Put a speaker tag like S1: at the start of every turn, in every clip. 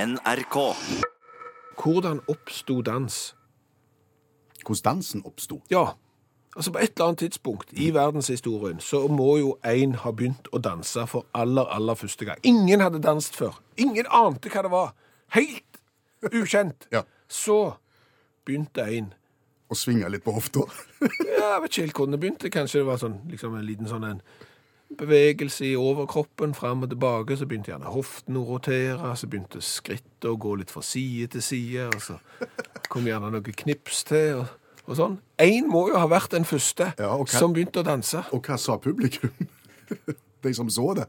S1: NRK.
S2: Hvordan oppsto dans?
S3: Hvordan dansen oppsto.
S2: Ja, altså på et eller annet tidspunkt i verdenshistorien så må jo en ha begynt å danse for aller, aller første gang. Ingen hadde danset før. Ingen ante hva det var. Helt ukjent.
S3: Ja.
S2: Så begynte en.
S3: Og svinga litt på hofta.
S2: Ja, jeg vet ikke helt hvordan det begynte. Kanskje det var sånn, liksom en liten sånn en bevegelse i overkroppen fram og tilbake. Så begynte gjerne hoften å rotere, så begynte skrittet å gå litt fra side til side. Og så kom gjerne noen knips til. og, og sånn. Én må jo ha vært den første
S3: Ja, ok.
S2: som begynte å danse.
S3: Og hva sa publikum? De som så det?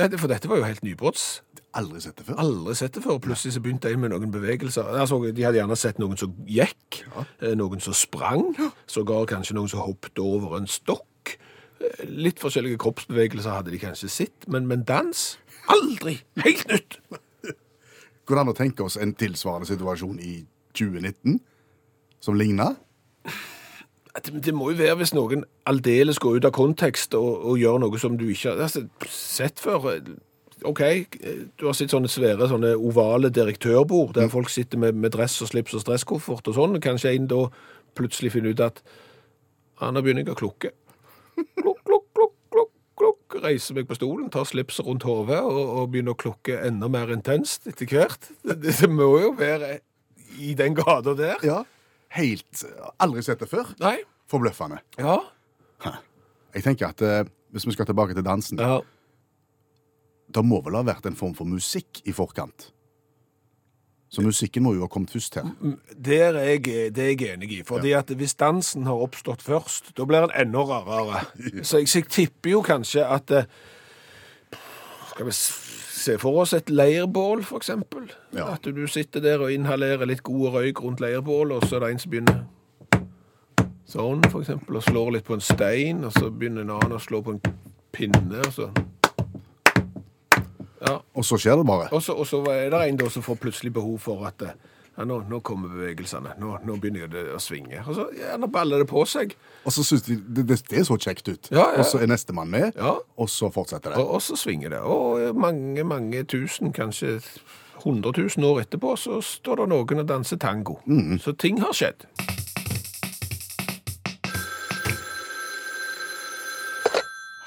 S2: Dette, for dette var jo helt nybrotts.
S3: Aldri sett det før.
S2: Aldri sett det før. Plutselig så begynte en med noen bevegelser. Altså, de hadde gjerne sett noen som gikk, eh, noen som sprang, sågar kanskje noen som hoppet over en stokk. Eh, Litt forskjellige kroppsbevegelser hadde de kanskje sett, men, men dans? Aldri! Helt nytt!
S3: Går det an å tenke oss en tilsvarende situasjon i 2019 som ligner?
S2: Det, det må jo være hvis noen aldeles går ut av kontekst og, og gjør noe som du ikke har altså, sett før. OK, eh, du har sett sånne svære sånne ovale direktørbord der folk sitter med, med dress og slips og stresskoffert og sånn. Kanskje en da plutselig finner ut at «Ah, nå begynner jeg å klukke. Klukk, klukk, klukk, klukk, klukk. Reiser meg på stolen, tar slipset rundt hodet og, og begynner å klukke enda mer intenst etter hvert. Det, det, det må jo være i den gata der.
S3: Ja. Helt eh, Aldri sett det før.
S2: Nei?
S3: Forbløffende.
S2: Ja.
S3: Hæ. Jeg tenker at eh, hvis vi skal tilbake til dansen,
S2: ja.
S3: da må vel ha vært en form for musikk i forkant? Så musikken må jo ha kommet først
S2: Mm,
S3: her.
S2: Der er jeg, det er jeg enig i. Fordi at hvis dansen har oppstått først, da blir den enda rarere. Så jeg, så jeg tipper jo kanskje at eh, Skal vi s- se for oss et leirbål, for eksempel?
S3: Ja.
S2: At du sitter der og inhalerer litt god røyk rundt leirbålet, og så er det en som begynner sånn, for eksempel, og slår litt på en stein, og så begynner en annen å slå på en pinne, og så Ja.
S3: Og så skjer det bare.
S2: Og så, og så er det en da som får plutselig behov for at eh, ja, nå, nå kommer bevegelsene, nå, nå begynner det å svinge. Og så gjerne baller det på seg.
S3: Og så syns de det, det, det så kjekt ut.
S2: Ja, ja.
S3: Og så er nestemann med,
S2: Ja.
S3: og så fortsetter det.
S2: Og, og så svinger det. Og eh, mange, mange tusen, kanskje 100 000 år etterpå, så står det noen og danser tango. Så ting har skjedd.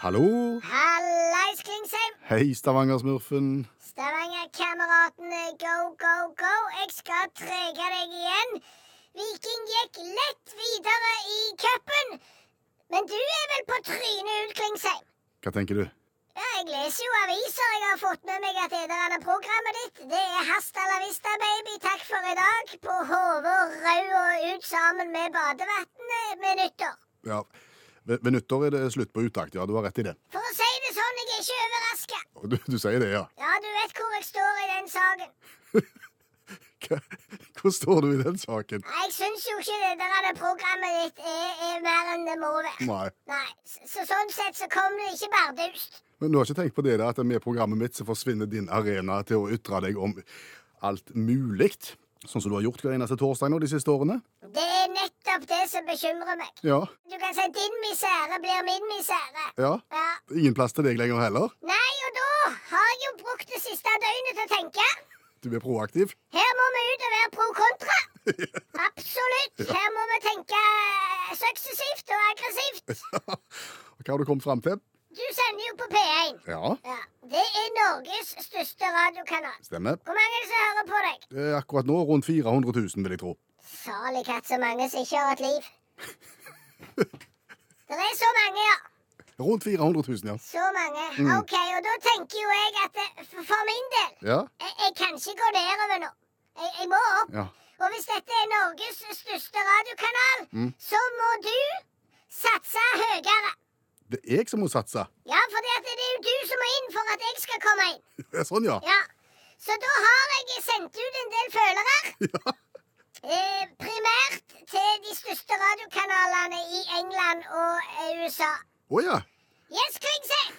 S3: Hallo!
S4: Hallais, Klingsheim!
S3: Hei, Stavangersmurfen.
S4: Stavangerkameratene, go, go, go! Jeg skal trege deg igjen. Viking gikk lett videre i cupen. Men du er vel på trynet ut, Klingsheim?
S3: Hva tenker du?
S4: Ja, jeg leser jo aviser. Jeg har fått med meg at det der andre programmet ditt, det er Hasta la vista, baby. Takk for i dag. På hodet og rau og ut sammen med badevannet med nyttår.
S3: Ja, ved, ved nyttår er det slutt på utakt. Ja, du har rett i det.
S4: For å si det sånn, jeg er ikke overraska.
S3: Og Du, du sier det, ja.
S4: Ja, du vet hvor jeg står i den saken.
S3: Hva, hvor står du i den saken?
S4: Nei, Jeg syns jo ikke det der det programmet ditt er, er mer enn det må være.
S3: Nei.
S4: Nei, så, så Sånn sett så kom det ikke bardust.
S3: Men du har ikke tenkt på det da, at med programmet mitt så forsvinner din arena til å ytre deg om alt mulig? Sånn som du har gjort hver eneste torsdag nå de siste årene?
S4: Det er nettopp det som bekymrer meg.
S3: Ja.
S4: Du kan si din misere blir min misere.
S3: Ja.
S4: Ja.
S3: Ingen plass til deg lenger heller?
S4: Nei, og da har jeg jo brukt det siste døgnet til å tenke.
S3: Du er proaktiv?
S4: Her må vi ut og være pro kontra. Absolutt. Her må vi tenke eh, suksessivt og aggressivt.
S3: Og hva har du kommet fram til?
S4: Du sender jo på P1.
S3: Ja.
S4: Ja. Det er Norges største radiokanal.
S3: Stemmer.
S4: Hvor mange er det som hører på deg?
S3: Det er akkurat nå rundt 400 000, vil jeg tro.
S4: Salig katt, så mange som ikke har et liv. Det er så mange, ja.
S3: Rundt 400 000, ja.
S4: Så mange. OK, og da tenker jo jeg at eh, for- for min del
S3: Ja.
S4: jeg, jeg kan ikke gå nedover nå. Jeg, jeg må opp.
S3: Ja.
S4: Og hvis dette er Norges største radiokanal, så må du satse høyere.
S3: Det er jeg som må satse.
S4: Ja, for det er jo du som må inn for at jeg skal komme inn.
S3: Ja, Sånn, ja.
S4: Ja, så da har jeg sendt ut en del følere. Eh, primært til de største radiokanalene i England og eh, USA.
S3: Å ja.
S4: Yes, Klingsheim!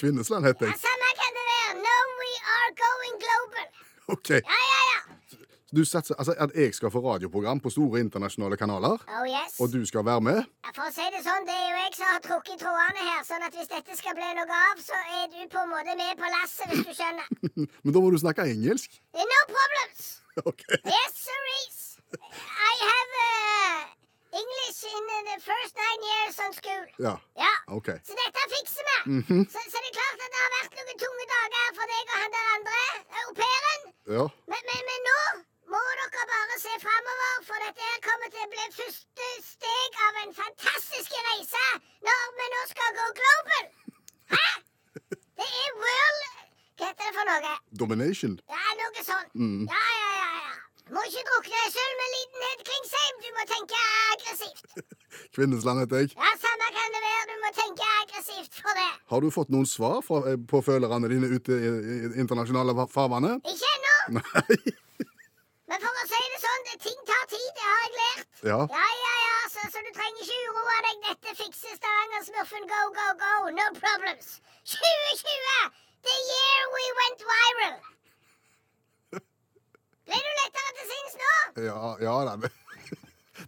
S3: Kvinnesland heter
S4: Ja,
S3: jeg.
S4: samme kan det være. No, we are going global.
S3: OK.
S4: Ja, ja, ja.
S3: Du satser altså at jeg skal få radioprogram på store internasjonale kanaler,
S4: Oh yes.
S3: og du skal være med?
S4: Ja, for å si det sånn, det er jo jeg som har trukket i trådene her, sånn at hvis dette skal bli noe av, så er du på en måte med på lasset, hvis du skjønner.
S3: Men da må du snakke engelsk.
S4: No problems!
S3: OK.
S4: Yes, sirs. I have uh, English in the first nine years on school.
S3: Ja.
S4: Ja.
S3: OK. Mhm.
S4: Så dette fikser vi.
S3: Mm.
S4: så, så det er klart at det har vært noen tunge dager for deg og han der andre, eh, au pairen.
S3: Ja.
S4: Men, men, men nå må dere bare se framover, for dette her kommer til å bli første steg av en fantastisk reise når vi nå skal gå global. Hæ? Det er world Hva heter det for noe?
S3: Domination.
S4: Ja, noe sånt.
S3: Mm.
S4: Ja, ja, ja. ja. Må ikke drukne deg sjøl med lidenhet, Klingsheim. Du må tenke aggressivt.
S3: Kvinnesland heter jeg.
S4: Ja, Samme kan det være. Du må tenke aggressivt for det.
S3: Har du fått noen svar fra, eh, på følgerne dine ute i i internasjonale fa- farvannet?
S4: Ikke ennå,
S3: Nei.
S4: men for å si det sånn, det- ting tar tid. Det har jeg lært.
S3: Ja.
S4: Ja, ja, ja, så, så du trenger ikke uroe deg. Dette fikser Stavanger-smurfen. Go, go, go. No problems. 2020! The year we went viral. Ble du lettere til sinns nå?
S3: Ja, ja da.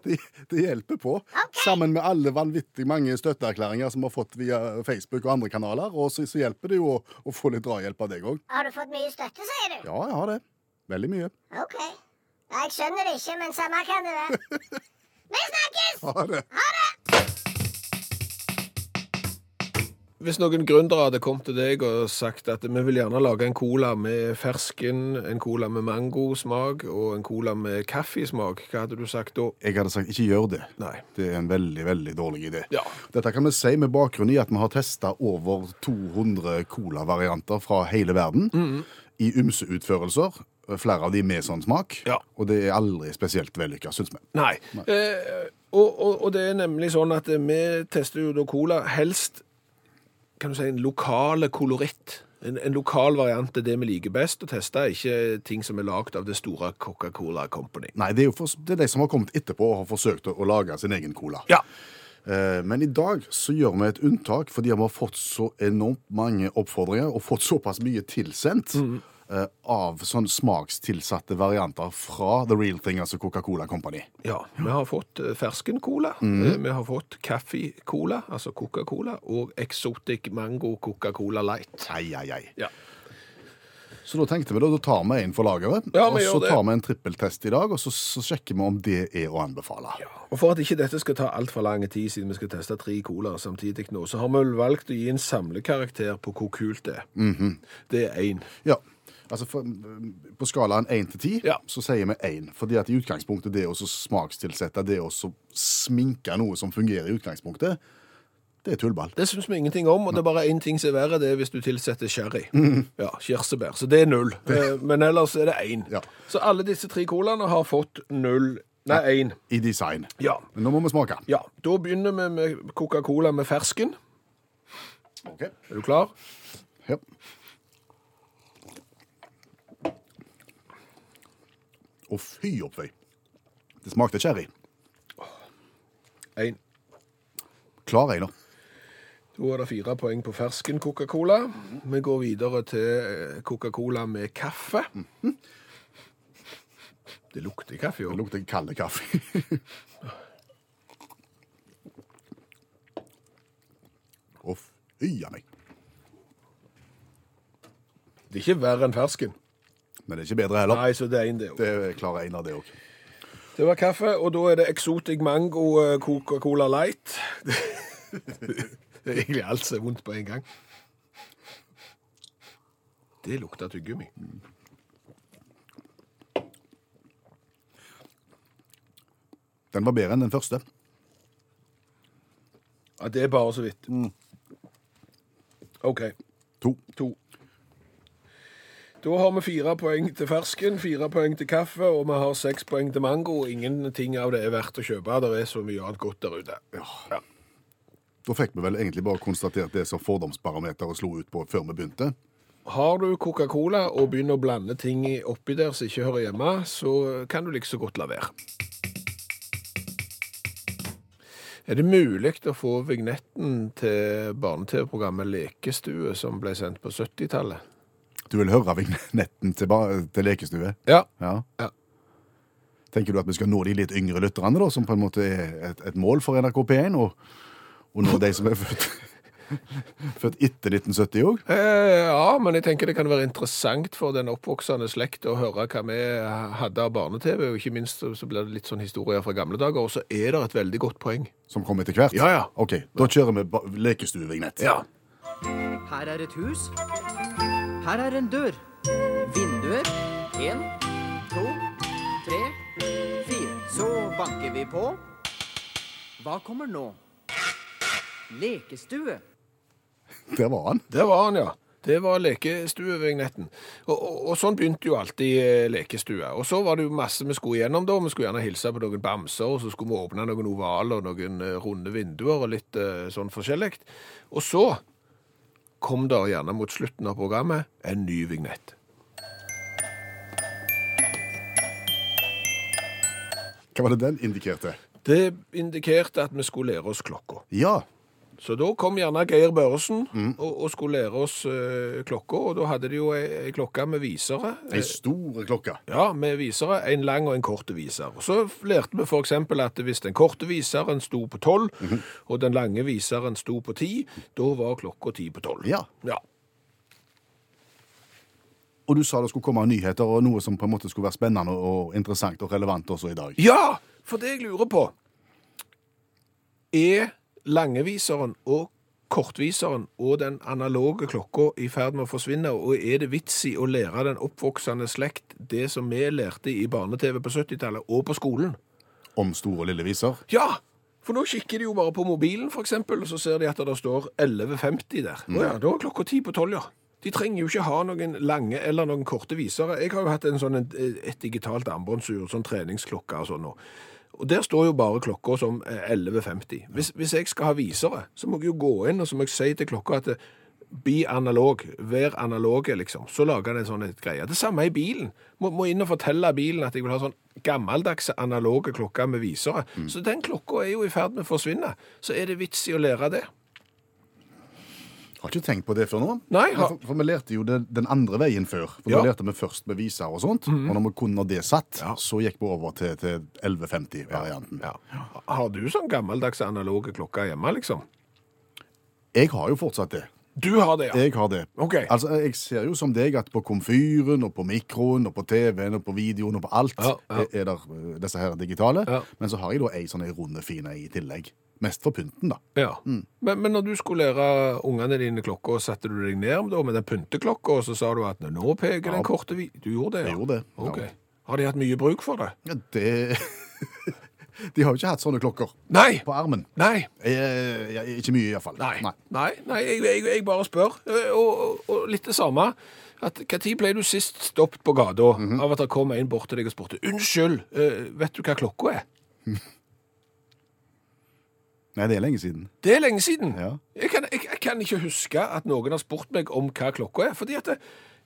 S3: Det, det hjelper på.
S4: Ok.
S3: Sammen med alle vanvittig mange støtteerklæringer som vi har fått via Facebook og andre kanaler, og så, så hjelper det jo å, å få litt drahjelp av deg òg.
S4: Har du fått mye støtte, sier du?
S3: Ja, jeg har det. Veldig mye.
S4: OK. Ja, jeg skjønner det ikke, men samme kan det være. Vi snakkes!
S3: Ha det.
S2: Hvis noen gründere hadde kommet til deg og sagt at vi vil gjerne lage en cola med fersken, en cola med mangosmak og en cola med kaffesmak, hva hadde du sagt da?
S3: Jeg hadde sagt ikke gjør det.
S2: Nei.
S3: Det er en veldig, veldig dårlig idé.
S2: Ja.
S3: Dette kan vi si med bakgrunn i at vi har testa over 200 colavarianter fra hele verden i ymse utførelser. Flere av de med sånn smak.
S2: Ja.
S3: Og det er aldri spesielt vellykka, syns vi.
S2: Nei. Eh, og, og, og det er nemlig sånn at eh, vi tester jo da cola helst kan du si, en lokale koloritt. En, en lokal variant er det vi liker best å teste, ikke ting som er lagd av det store Coca-Cola Company.
S3: Nei, det er jo for, det er de som har kommet etterpå og har forsøkt å, å lage sin egen cola.
S2: Ja.
S3: Eh, men i dag så gjør vi et unntak fordi vi har fått så enormt mange oppfordringer og fått såpass mye tilsendt.
S2: Mm.
S3: eh, Av sånn smakstilsatte varianter fra The Real Thing, altså Coca-Cola Company.
S2: ja. Vi har fått eh, fersken cola, eh, vi har fått kaffe-cola, altså Coca-Cola, og Exotic Mango Coca-Cola Light.
S3: Ei, ei, ei.
S2: Ja.
S3: Så da tenkte vi da, da tar vi en for lageret,
S2: Ja,
S3: og
S2: vi
S3: så
S2: gjør det.
S3: tar vi en trippeltest i dag, og så, så sjekker vi om det er å anbefale.
S2: Og for at ikke dette skal ta altfor lang tid, siden vi skal teste tre colaer samtidig nå, så har vi vel valgt å gi en samlekarakter på hvor kult det er. Det er én.
S3: Ja, altså for, På skalaen 1 til 10
S2: Ja.
S3: så sier vi 1. Fordi at i utgangspunktet det å så smakstilsette, det å så sminke noe som fungerer i utgangspunktet, det er tullball.
S2: Det syns vi ingenting om, og det er bare én ting som er verre, det er hvis du tilsetter sherry. Ja, kirsebær. Så det er null. Eh, Men ellers er det én.
S3: Ja.
S2: Så alle disse tre colaene har fått null Nei, én.
S3: I design.
S2: Ja.
S3: Men nå må vi smake.
S2: ja. Da begynner vi med Coca-Cola med fersken.
S3: Ok.
S2: Er du klar?
S3: Ja. Å, fy opp, vei. Det smakte cherry.
S2: Én.
S3: Klar einer.
S2: Da er det fire poeng på fersken Coca-Cola. Vi går videre til eh, Coca-Cola med kaffe. Det lukter kaffe, jo.
S3: Det lukter kald kaffe. Å, fy a meg.
S2: Det er ikke verre enn fersken.
S3: Men det er ikke bedre heller.
S2: Nei, så det er én, det òg.
S3: Det klarer en av det òg.
S2: Det var kaffe, og da er det Exotic Mango eh, Coca-Cola Light. det er egentlig alt som er vondt på en gang. Det lukter tyggegummi.
S3: Den var bedre enn den første.
S2: Ja, det er bare så vidt. OK,
S3: To.
S2: to. Da har vi fire poeng til fersken, fire poeng til kaffe, og vi har seks poeng til mango. Ingenting av det er verdt å kjøpe. Det er så mye annet godt der ute. Ja.
S3: Da fikk vi vel egentlig bare konstatert det som fordomsbarometeret slo ut på før vi begynte.
S2: Har du Coca-Cola og begynner å blande ting i- oppi der som ikke hører hjemme, så kan du like så godt la være. Er det mulig å få vignetten til barne-TV-programmet Lekestue, som ble sendt på 70-tallet?
S3: Du vil høre vignetten til, ba- til lekestue?
S2: Ja.
S3: Ja.
S2: Ja.
S3: Tenker du at vi skal nå de litt yngre lytterne, da, som på en måte er et, et mål for NRK P1? Og, og nå de som er født, født etter 1970 òg?
S2: Eh, ja, men jeg tenker det kan være interessant for den oppvoksende slekt å høre hva vi hadde av barne-TV, og ikke minst så blir det litt sånn historier fra gamle dager, og så er det et veldig godt poeng.
S3: Som kom etter hvert?
S2: Ja, ja.
S3: Ok, Da kjører vi ba- lekestuevignett.
S2: Ja.
S1: Her er et hus. Her er en dør. Vinduer. Én, to, tre, fire. Så banker vi på. Hva kommer nå? Lekestue.
S3: Der var han.
S2: Der var han, ja. Det var lekestuevignetten. Og, og, og sånn begynte jo alltid eh, lekestua. Og så var det jo masse vi skulle gjennom da. Vi skulle gjerne hilse på noen bamser, og så skulle vi åpne noen ovaler og noen eh, runde vinduer og litt eh, sånn forskjellig. Og så kom der gjerne mot slutten av programmet en ny vignett.
S3: Hva var det den indikerte?
S2: Det indikerte at vi skulle lære oss klokka.
S3: Ja.
S2: Så da kom gjerne Geir Børresen
S3: Mm.
S2: og, og skulle lære oss eh, klokka, og da hadde de jo ei, ei klokke med visere.
S3: Ei stor klokke.
S2: Ja, med visere. En lang og en kort viser. Og så lærte vi for eksempel at hvis den korte viseren sto på 12,
S3: Mhm.
S2: og den lange viseren sto på 10, da var klokka 10 på 12.
S3: Ja.
S2: ja.
S3: Og du sa det skulle komme nyheter og noe som på en måte skulle være spennende og interessant og relevant også i dag.
S2: Ja, for det jeg lurer på Er langeviseren og kortviseren og den analoge klokka i ferd med å forsvinne, og er det vits i å lære den oppvoksende slekt det som vi lærte i barne-TV på 70-tallet og på skolen?
S3: Om store og lille viser.
S2: Ja! For nå kikker de jo bare på mobilen, for eksempel, og så ser de at det står 11.50 der. Å ja, da er klokka ti på tolv, ja. De trenger jo ikke ha noen lange eller noen korte visere. Jeg har jo hatt en sånn, et, et digitalt armbåndsur, sånn treningsklokke og sånn nå. Og der står jo bare klokka som eh, 11.50. Hvis, hvis jeg skal ha visere, så må jeg jo gå inn, og så må jeg si til klokka at eh, be analog, vær analoge, liksom. Så lager den en sånn et greie. Det samme i bilen. Må, må inn og fortelle bilen at jeg vil ha sånn gammeldagse analoge klokker med visere.
S3: Mm.
S2: Så den klokka er jo i ferd med å forsvinne. Så er det vits i å lære det.
S3: Har ikke tenkt på det før nå.
S2: Nei, ha-
S3: for, for vi lærte jo det, den andre veien før. For
S2: Ja.
S3: Da lærte vi først med viser og sånt.
S2: Mhm.
S3: Og når vi kunne det satt, så gikk vi over til, til 1150-varianten.
S2: Har du sånn gammeldagse analoge klokker hjemme, liksom?
S3: Jeg har jo fortsatt det.
S2: Du har det, ja.
S3: Jeg har det.
S2: Ok.
S3: Altså, Jeg ser jo som deg at på komfyren og på mikroen og på TV-en og på videoen og på alt
S2: Ja, ja.
S3: er- er der eh, disse her digitale.
S2: Ja.
S3: Men så har jeg da ei sånn ei runde fin ei i tillegg. Mest for pynten, da.
S2: ja.
S3: Mm.
S2: Men, men når du skulle lære ungene dine klokka, satte du deg ned da med den pynteklokka, og så sa du at nå peker den korte vi... Du gjorde det, ja?
S3: Jeg gjorde det, ja.
S2: Ok. Har de hatt mye bruk for det?
S3: Ja, det De har jo ikke hatt sånne klokker
S2: Nei!
S3: på armen.
S2: Nei!
S3: Eh, ja, ikke mye, iallfall.
S2: Nei. Nei, nei, jeg, jeg, jeg bare spør. Eh, Og, og, og litt det samme. At, hva tid ble du sist stoppet på gata av at det kom en bort til deg og spurte Unnskyld, eh, vet du hva klokka er?
S3: Nei, det er lenge siden.
S2: Det er lenge siden.
S3: Ja.
S2: Jeg, kan, jeg, jeg kan ikke huske at noen har spurt meg om hva klokka er. fordi at det,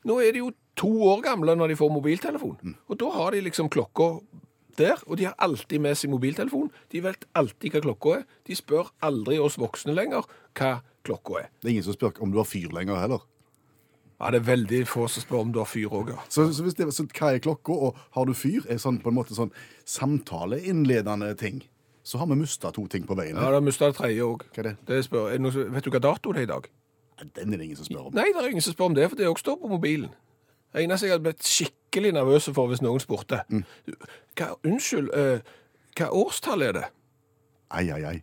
S2: nå er de jo to år gamle når de får mobiltelefon. Og da har de liksom klokka der, og de har alltid med seg mobiltelefon. De vet alltid hva klokka er. De spør aldri oss voksne lenger hva klokka er.
S3: Det er ingen som spør om du har fyr lenger heller.
S2: Ja, det er veldig få som spør om du har fyr òg, ja.
S3: Så, så hvis det så hva er klokka, og har du fyr, er sånn på en måte sånn samtaleinnledende ting, så har vi mista to ting på veien.
S2: Ja, da mista det tredje òg.
S3: Hva er det?
S2: spør- er det noe som- Vet du hva dato det er i dag?
S3: Den er det ingen som spør om.
S2: Nei, det er ingen som spør om det, for det òg står på mobilen. Det eneste jeg hadde blitt skikkelig nervøs for hvis noen spurte
S3: Mm.
S2: hva, Unnskyld, eh, hva årstall er det?
S3: Ai, ai, ai.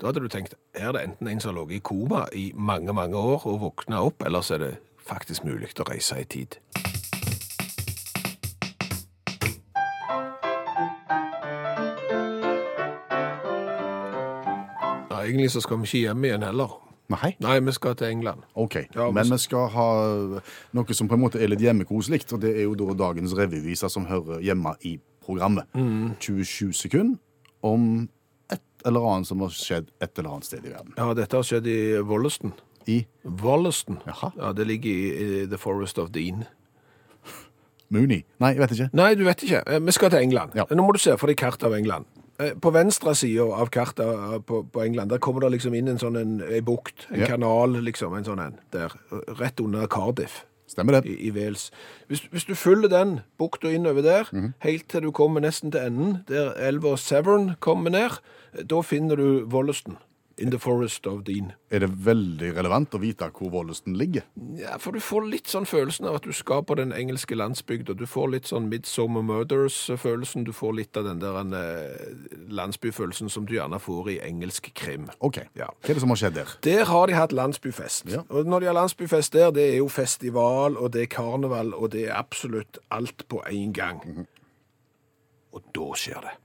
S2: Da hadde du tenkt er det enten en som har ligget i koma i mange, mange år og våkna opp, eller så er det faktisk mulig å reise i tid. Ja, egentlig så skal vi ikke hjem igjen heller.
S3: Nei?
S2: Nei, vi skal til England.
S3: OK.
S2: Ja,
S3: men
S2: men-
S3: vi skal ha noe som på en måte er litt hjemmekoselig, og det er jo da dagens revyvise som hører hjemme i programmet.
S2: Mm.
S3: 27 sekunder om et eller annet som har skjedd et eller annet sted i verden.
S2: Ja, dette har skjedd i Wollaston.
S3: I
S2: Wollaston?
S3: Jaha.
S2: Ja, det ligger i, i The Forest of Dean.
S3: Mooney. Nei, jeg vet ikke.
S2: Nei, du vet ikke. Eh, Vi skal til England.
S3: Ja.
S2: Nå må du se for deg kart av England. Eh, På venstre sida av kartet eh, på, på England, der kommer det liksom inn en sånn en, en bukt, en
S3: Ja.
S2: kanal, liksom, en sånn en, der. Rett under Cardiff.
S3: Stemmer det.
S2: i, i Wales. Hvis, hvis du følger den bukta innover der, helt til du kommer nesten til enden, der elva Severn kommer ned, eh, da finner du Wollaston. In the forest of Dean.
S3: Er det veldig relevant å vite hvor Wollesten ligger?
S2: Ja, for du får litt sånn følelsen av at du skal på den engelske landsbygda. Du får litt sånn Midsummer Murders-følelsen. Du får litt av den der eh, landsbyfølelsen som du gjerne får i engelsk krim.
S3: OK.
S2: Ja.
S3: Hva er det som har skjedd der?
S2: Der har de hatt landsbyfest.
S3: Ja.
S2: Og når de har landsbyfest der, det er jo festival, og det er karneval, og det er absolutt alt på én gang. Og da skjer det.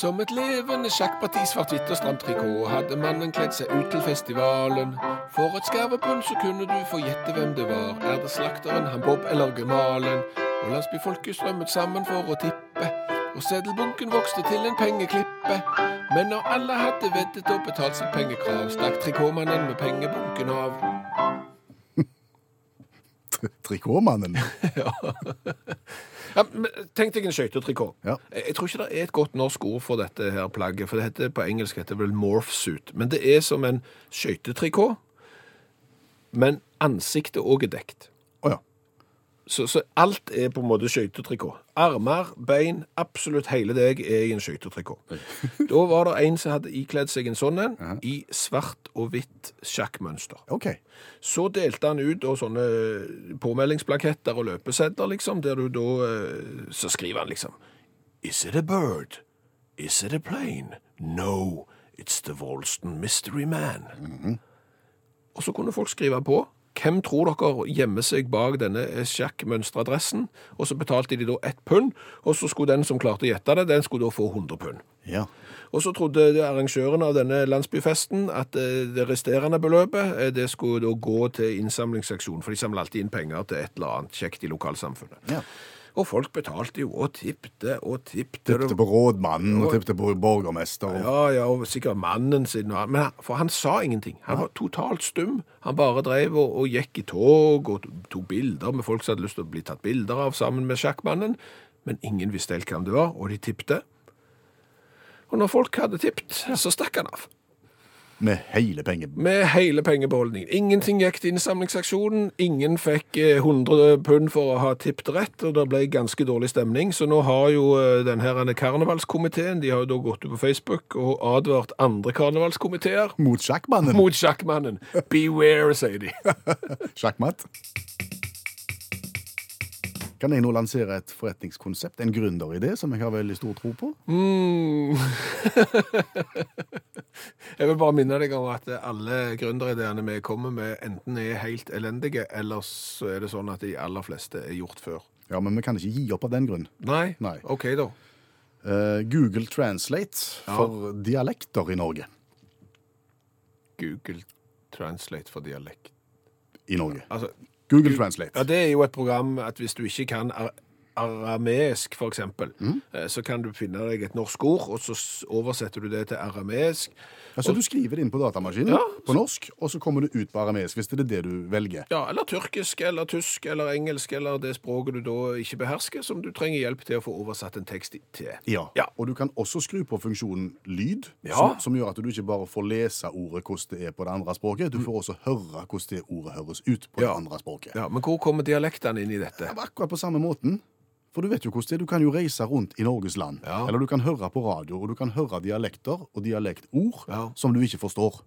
S2: Som et levende sjakkparti svart-hvitt og stramt trikot hadde mannen kledd seg ut til festivalen. For et skarvepund så kunne du få gjette hvem det var. Er det slakteren, han Bob eller gemalen? Og landsbyfolket strømmet sammen for å tippe. Og seddelbunken vokste til en pengeklippe. Men når alle hadde veddet og betalt sitt pengekrav, stakk trikotmannen med pengebunken av.
S3: Tri- Trikotmannen?
S2: Ja, men Tenk deg en skøytetrikot.
S3: Ja.
S2: Jeg jeg tror ikke det er et godt norsk ord for dette her plagget. for det heter, På engelsk heter det vel morphsuit. Men det er som en skøytetrikot, men ansiktet òg er dekt.
S3: Å ja.
S2: Så, så alt er på en måte skøytetrikot. Armer, bein, absolutt hele deg er i en skøytetrikot. da var det en som hadde ikledd seg en sånn en, i svart og hvitt sjakkmønster.
S3: OK.
S2: Så delte han ut da sånne påmeldingsplaketter og løpesedler, liksom, der du da eh, Så skriver han liksom Is it a bird? Is it a plane? No, it's the Walston Mystery Man. Og så kunne folk skrive på. Hvem tror dere gjemmer seg bak denne sjakkmønsteradressen? Og så betalte de da ett pund, og så skulle den som klarte å gjette det, den skulle da få 100 pund.
S3: Ja.
S2: Og så trodde det arrangøren av denne landsbyfesten at eh, det resterende beløpet eh, det skulle da gå til innsamlingsseksjon, for de samler alltid inn penger til et eller annet kjekt i lokalsamfunnet.
S3: ja.
S2: Og folk betalte jo og tippte og tippte.
S3: Tipte på rådmannen og tipte på borgermester. Og...
S2: Ja, ja, og sikkert mannen sin. og han- Men han, for han sa ingenting. Han var totalt stum. Han bare drev og, og gikk i tog og tok bilder med folk som hadde lyst til å bli tatt bilder av sammen med sjakkmannen. Men ingen visste helt hvem det var, og de tippte. Og når folk hadde tippt, så stakk han av.
S3: Med hele pengen.
S2: Med hele pengebeholdningen. Ingenting gikk til innsamlingsaksjonen. Ingen fikk eh, 100 pund for å ha tippet rett, og det ble ganske dårlig stemning. Så nå har jo eh, den her denne karnevalskomiteen de har jo da gått ut på Facebook og advart andre karnevalskomiteer
S3: Mot sjakkmannen.
S2: mot sjakkmannen. Beware, sier de.
S3: Sjakkmatt. Kan jeg nå lansere et forretningskonsept, en gründeridé, som jeg har veldig stor tro på?
S2: Jeg vil bare minne deg om at eh, alle gründerideene vi kommer med, enten er helt elendige, eller så er det sånn at de aller fleste er gjort før.
S3: Ja, men vi kan ikke gi opp av den grunn.
S2: Nei?
S3: Nei.
S2: OK, da.
S3: Eh, Google Translate for dialekter i Norge.
S2: Google translate for dialekt.
S3: I Norge.
S2: Altså,
S3: Google Translate.
S2: Ja, det er jo et program at hvis du ikke kan ar arameisk, for eksempel,
S3: Mm.
S2: eh, så kan du finne deg et norsk ord, og så s- oversetter du det til arameisk.
S3: Altså, du skriver det inn på datamaskinen på norsk, og så kommer det ut på arameisk, hvis det er det du velger.
S2: Ja, eller tyrkisk, eller tysk, eller engelsk, eller det språket du da ikke behersker, som du trenger hjelp til å få oversatt en tekst i- til. Ja.
S3: Og du kan også skru på funksjonen lyd,
S2: Ja.
S3: som, som gjør at du ikke bare får lese ordet hvordan det er på det andre språket, du får også høre hvordan det ordet høres ut på
S2: Mm.
S3: det
S2: Ja.
S3: andre språket.
S2: Ja, men hvor kommer dialektene inn i dette?
S3: Ja, men akkurat på samme måten. For du vet jo hvordan det er. Du kan jo reise rundt i Norges land.
S2: Ja.
S3: Eller du kan høre på radio, og du kan høre dialekter og dialektord
S2: Ja.
S3: som du ikke forstår.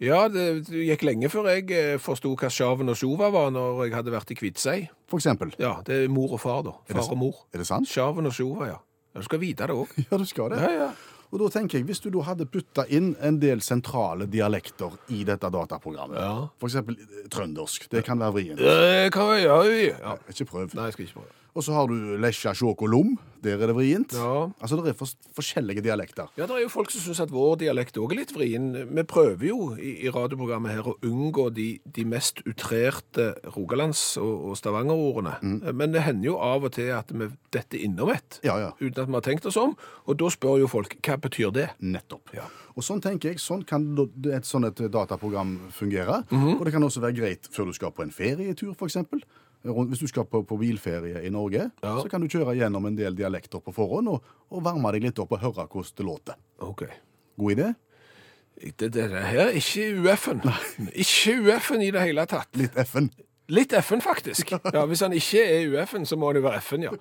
S2: Ja, det det gikk lenge før jeg eh, forstod hva sjaven og sjova var når jeg hadde vært i Kvitsei.
S3: For eksempel.
S2: Ja, det er mor og far da.
S3: det
S2: Far og mor.
S3: Er det sant?
S2: Sjaven og sjova, ja. Ja, Du skal vite det også.
S3: Ja, du skal det.
S2: Ja, ja.
S3: Og da tenker jeg, Hvis du da hadde putta inn en del sentrale dialekter i dette dataprogrammet,
S2: Ja.
S3: For eksempel eh, trøndersk, det kan være vrient.
S2: Det kan jeg gjøre. Ja.
S3: Ikke prøv.
S2: Nei, jeg skal ikke prøve.
S3: Og så har du lesja, sjåk og lom, der er det vrient.
S2: Ja.
S3: Altså, Det er fors- forskjellige dialekter.
S2: Ja, det er jo folk som syns at vår dialekt òg er litt vrien. Vi prøver jo i, i radioprogrammet her å unngå de, de mest utrerte rogalands- og, og stavangerordene. Men det hender jo av og til at vi detter innom et
S3: Ja, ja.
S2: uten at vi har tenkt oss om. Og da spør jo folk hva betyr det?
S3: Nettopp.
S2: Ja.
S3: Og Sånn tenker jeg, sånn kan da- det- et sånn et dataprogram fungere.
S2: Mhm.
S3: Og det kan også være greit før du skal på en ferietur, f.eks. Hvis du skal på, på bilferie i Norge,
S2: Ja.
S3: så kan du kjøre gjennom en del dialekter på forhånd og, og varme deg litt opp og høre hvordan det låter.
S2: Ok.
S3: God idé?
S2: Det, det, det her er ikke UF-en. Ikke UF-en i det hele tatt.
S3: Litt F-en.
S2: Litt F-en, faktisk. Ja, Hvis han ikke er UF-en, så må han jo være F-en, ja.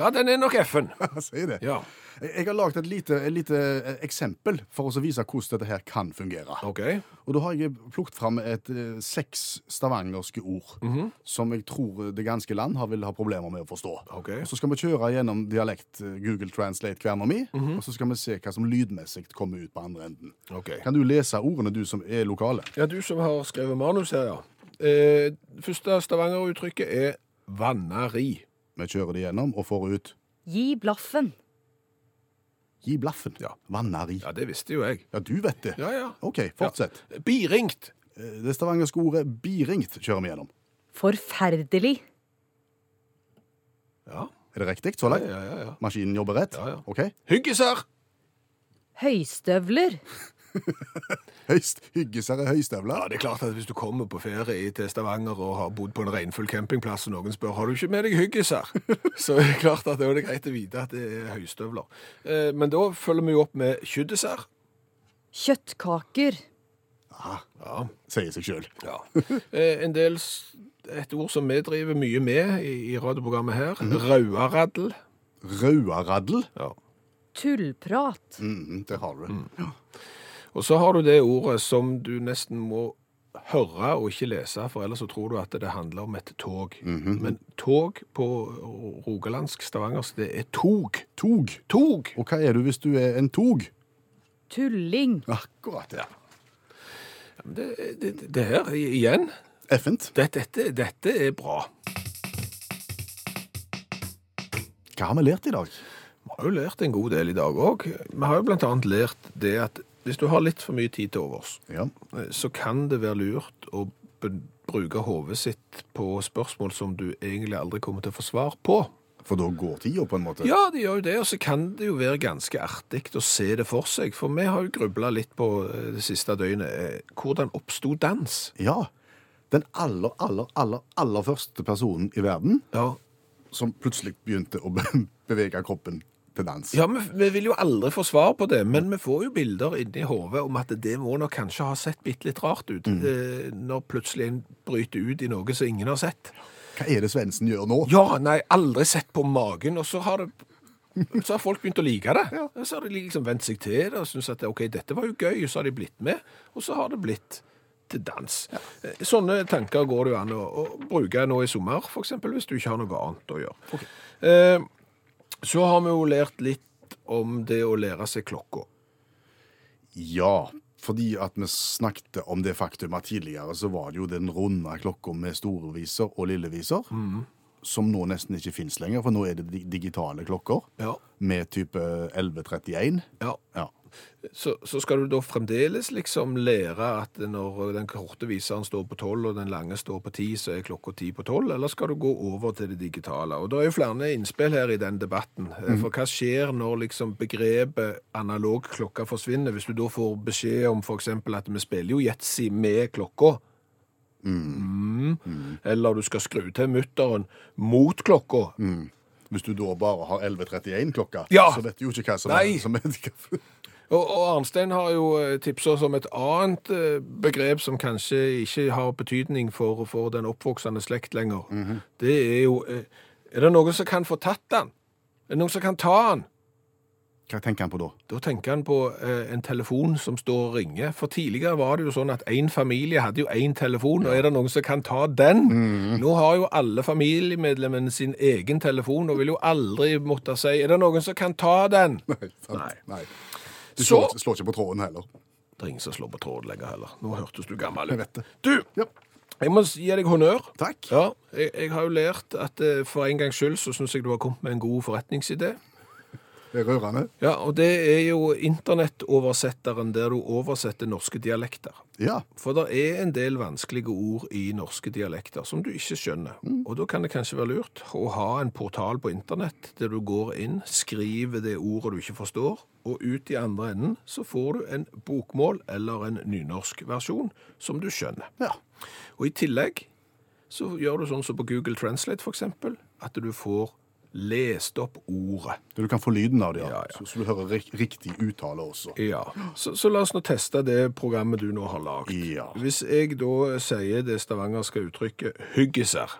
S2: Ja, den er nok F-en.
S3: Si det.
S2: Ja.
S3: Jeg jeg har laget et lite, et lite eh, eksempel for å vise hvordan dette her kan fungere.
S2: OK.
S3: Og da har jeg plukket fram et, eh, seks stavangerske ord
S2: Mhm.
S3: som jeg tror det ganske land har, vil ha problemer med å forstå.
S2: Ok.
S3: Og Så skal vi kjøre gjennom dialekt eh, Google Translate-kverna mi,
S2: Mhm.
S3: og så skal vi se hva som lydmessig kommer ut på andre enden.
S2: ok.
S3: Kan du lese ordene, du som er lokale?
S2: Ja, du som har skrevet manus her, ja. Eh, første Stavanger-uttrykket er vannari.
S3: Vi kjører det gjennom og får ut
S5: Gi blaffen.
S3: gi blaffen.
S2: Ja.
S3: Vannari.
S2: Ja, det visste jo jeg.
S3: Ja, du vet det.
S2: Ja, ja.
S3: OK, fortsett.
S2: Ja. Biringt.
S3: Eh, Det stavangerske ordet biringt kjører vi gjennom.
S5: Forferdelig.
S2: Ja,
S3: Er det riktig så langt?
S2: ja, ja. ja.
S3: Maskinen jobber rett?
S2: Ja, ja.
S3: OK.
S2: Hyggesær.
S5: Høystøvler.
S3: Høyst, hyggesere høystøvler.
S2: Ja, det er klart at Hvis du kommer på ferie i- til Stavanger og har bodd på en regnfull campingplass, og noen spør har du ikke med deg hyggesær, så er det klart at da er det greit å vite at det er høystøvler. Eh, Men da følger vi jo opp med kjøttdessert.
S5: Kjøttkaker.
S2: Ja,
S3: Ah. sier seg sjøl.
S2: ja. Eh, En del, s- et ord som vi driver mye med i i radioprogrammet her, rauaraddel.
S3: Rauaraddel.
S2: Mhm. Ja.
S5: Tullprat.
S3: Mm, der har du det.
S2: Og så har du det ordet som du nesten må høre og ikke lese, for ellers så tror du at det handler om et tog. Men tog på rogalandsk stavangersk, det er tog.
S3: Tog.
S2: Tog!
S3: Og hva er du hvis du er en tog?
S5: Tulling.
S3: Akkurat det.
S2: Det, det, det her, i- igjen,
S3: Effent.
S2: det, dette, dette er bra.
S3: Hva har vi lært i dag?
S2: Vi har jo lært en god del i dag òg. Vi har jo blant annet lært det at hvis du har litt for mye tid til overs,
S3: Ja.
S2: så kan det være lurt å be- bruke hodet sitt på spørsmål som du egentlig aldri kommer til å få svar på.
S3: For da går tida, på en måte.
S2: Ja, det gjør jo det, og så kan det jo være ganske artig å se det for seg. For vi har jo grubla litt på eh, det siste døgnet. eh, Hvordan oppsto dans?
S3: Ja. Den aller, aller, aller, aller første personen i verden
S2: Ja,
S3: som plutselig begynte å be- bevege kroppen til dans.
S2: Ja, vi, vi vil jo aldri få svar på det, men vi får jo bilder inni hodet om at det må nok kanskje ha sett bitte litt rart ut, eh, når plutselig en bryter ut i noe som ingen har sett.
S3: Hva er det Svendsen gjør nå?
S2: Ja, nei, aldri sett på magen, og så har det så har folk begynt å like det. Så har de liksom vent seg til det og syntes at ok, dette var jo gøy, så har de blitt med, og så har det blitt til dans. Eh, Sånne tanker går det jo an å, å bruke nå i sommer, for eksempel, hvis du ikke har noe annet å gjøre. Eh, så har vi jo lært litt om det å lære seg klokka.
S3: Ja, fordi at vi snakket om det faktum at tidligere så var det jo den runde klokka med storeviser og lilleviser,
S2: Mm.
S3: som nå nesten ikke finnes lenger, for nå er det di- digitale klokker
S2: Ja.
S3: med type 1131.
S2: Ja.
S3: Ja.
S2: Så, så skal du da fremdeles liksom lære at når den korte viseren står på 12 og den lange står på 10, så er klokka 10 på 12, eller skal du gå over til det digitale? Og det er jo flere innspill her i den debatten. Eh, For hva skjer når liksom begrepet analog klokka forsvinner, hvis du da får beskjed om for eksempel at vi spiller jo Jetsi med klokka? Mm. Eller du skal skru til mutteren mot klokka.
S3: Hvis du da bare har 1131 klokka,
S2: Ja.
S3: så vet du jo ikke hva som
S2: Nei.
S3: er, som er
S2: Og, og Arnstein har jo eh, tipset oss om et annet eh, begrep som kanskje ikke har betydning for, for den oppvoksende slekt lenger. Det er jo eh, Er det noen som kan få tatt den? Er det noen som kan ta den?
S3: Hva tenker han på da?
S2: Da tenker han på eh, en telefon som står og ringer. For tidligere var det jo sånn at én familie hadde jo én telefon, og er det noen som kan ta den? Nå har jo alle familiemedlemmene sin egen telefon, og vil jo aldri måtte si 'Er det noen som kan ta den?'
S3: Nei. sant?
S2: Nei.
S3: Nei. Du
S2: Så-
S3: slår, slår ikke på tråden heller.
S2: Det er ingen som slår på tråd lenger heller. Nå hørtes du gammel
S3: vet
S2: ut.
S3: det.
S2: Du,
S3: Ja.
S2: jeg må gi deg honnør.
S3: Takk.
S2: Ja, jeg, jeg har jo lært at eh, for en gangs skyld så syns jeg du har kommet med en god forretningsidé.
S3: Det er rørende.
S2: Ja, og det er jo internettoversetteren der du oversetter norske dialekter.
S3: Ja.
S2: For det er en del vanskelige ord i norske dialekter som du ikke skjønner. Og da kan det kanskje være lurt å ha en portal på internett der du går inn, skriver det ordet du ikke forstår, og ut i andre enden så får du en bokmål eller en nynorsk versjon som du skjønner.
S3: ja.
S2: Og i tillegg så gjør du sånn som på Google Translate for eksempel, at du får leste opp ordet.
S3: Du kan få lyden av det,
S2: Ja,
S3: ja.
S2: ja.
S3: Så, så du hører rik riktig uttale også.
S2: Ja, så, så la oss nå teste det programmet du nå har lagd.
S3: Ja.
S2: Hvis jeg da sier det stavangerske uttrykket 'hyggiser',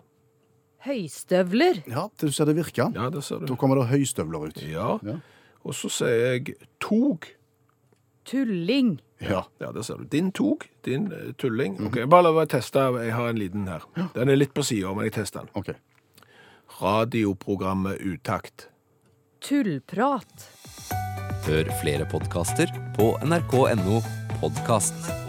S5: Høystøvler.
S3: Ja, det, du ser det virker.
S2: ja, det ser
S3: Da
S2: du.
S3: kommer det høystøvler ut.
S2: Ja.
S3: Ja.
S2: Og så sier jeg 'tog'.
S5: Tulling.
S3: Ja.
S2: Ja, det ser du. Din tog, din eh, tulling.
S3: Mhm.
S2: Ok, Bare la meg teste. Jeg har en liten her. Den er litt på sida, men jeg tester den.
S3: OK.
S2: Radioprogrammet Utakt.
S5: Tullprat.
S6: Hør flere podkaster på nrk.no podkast.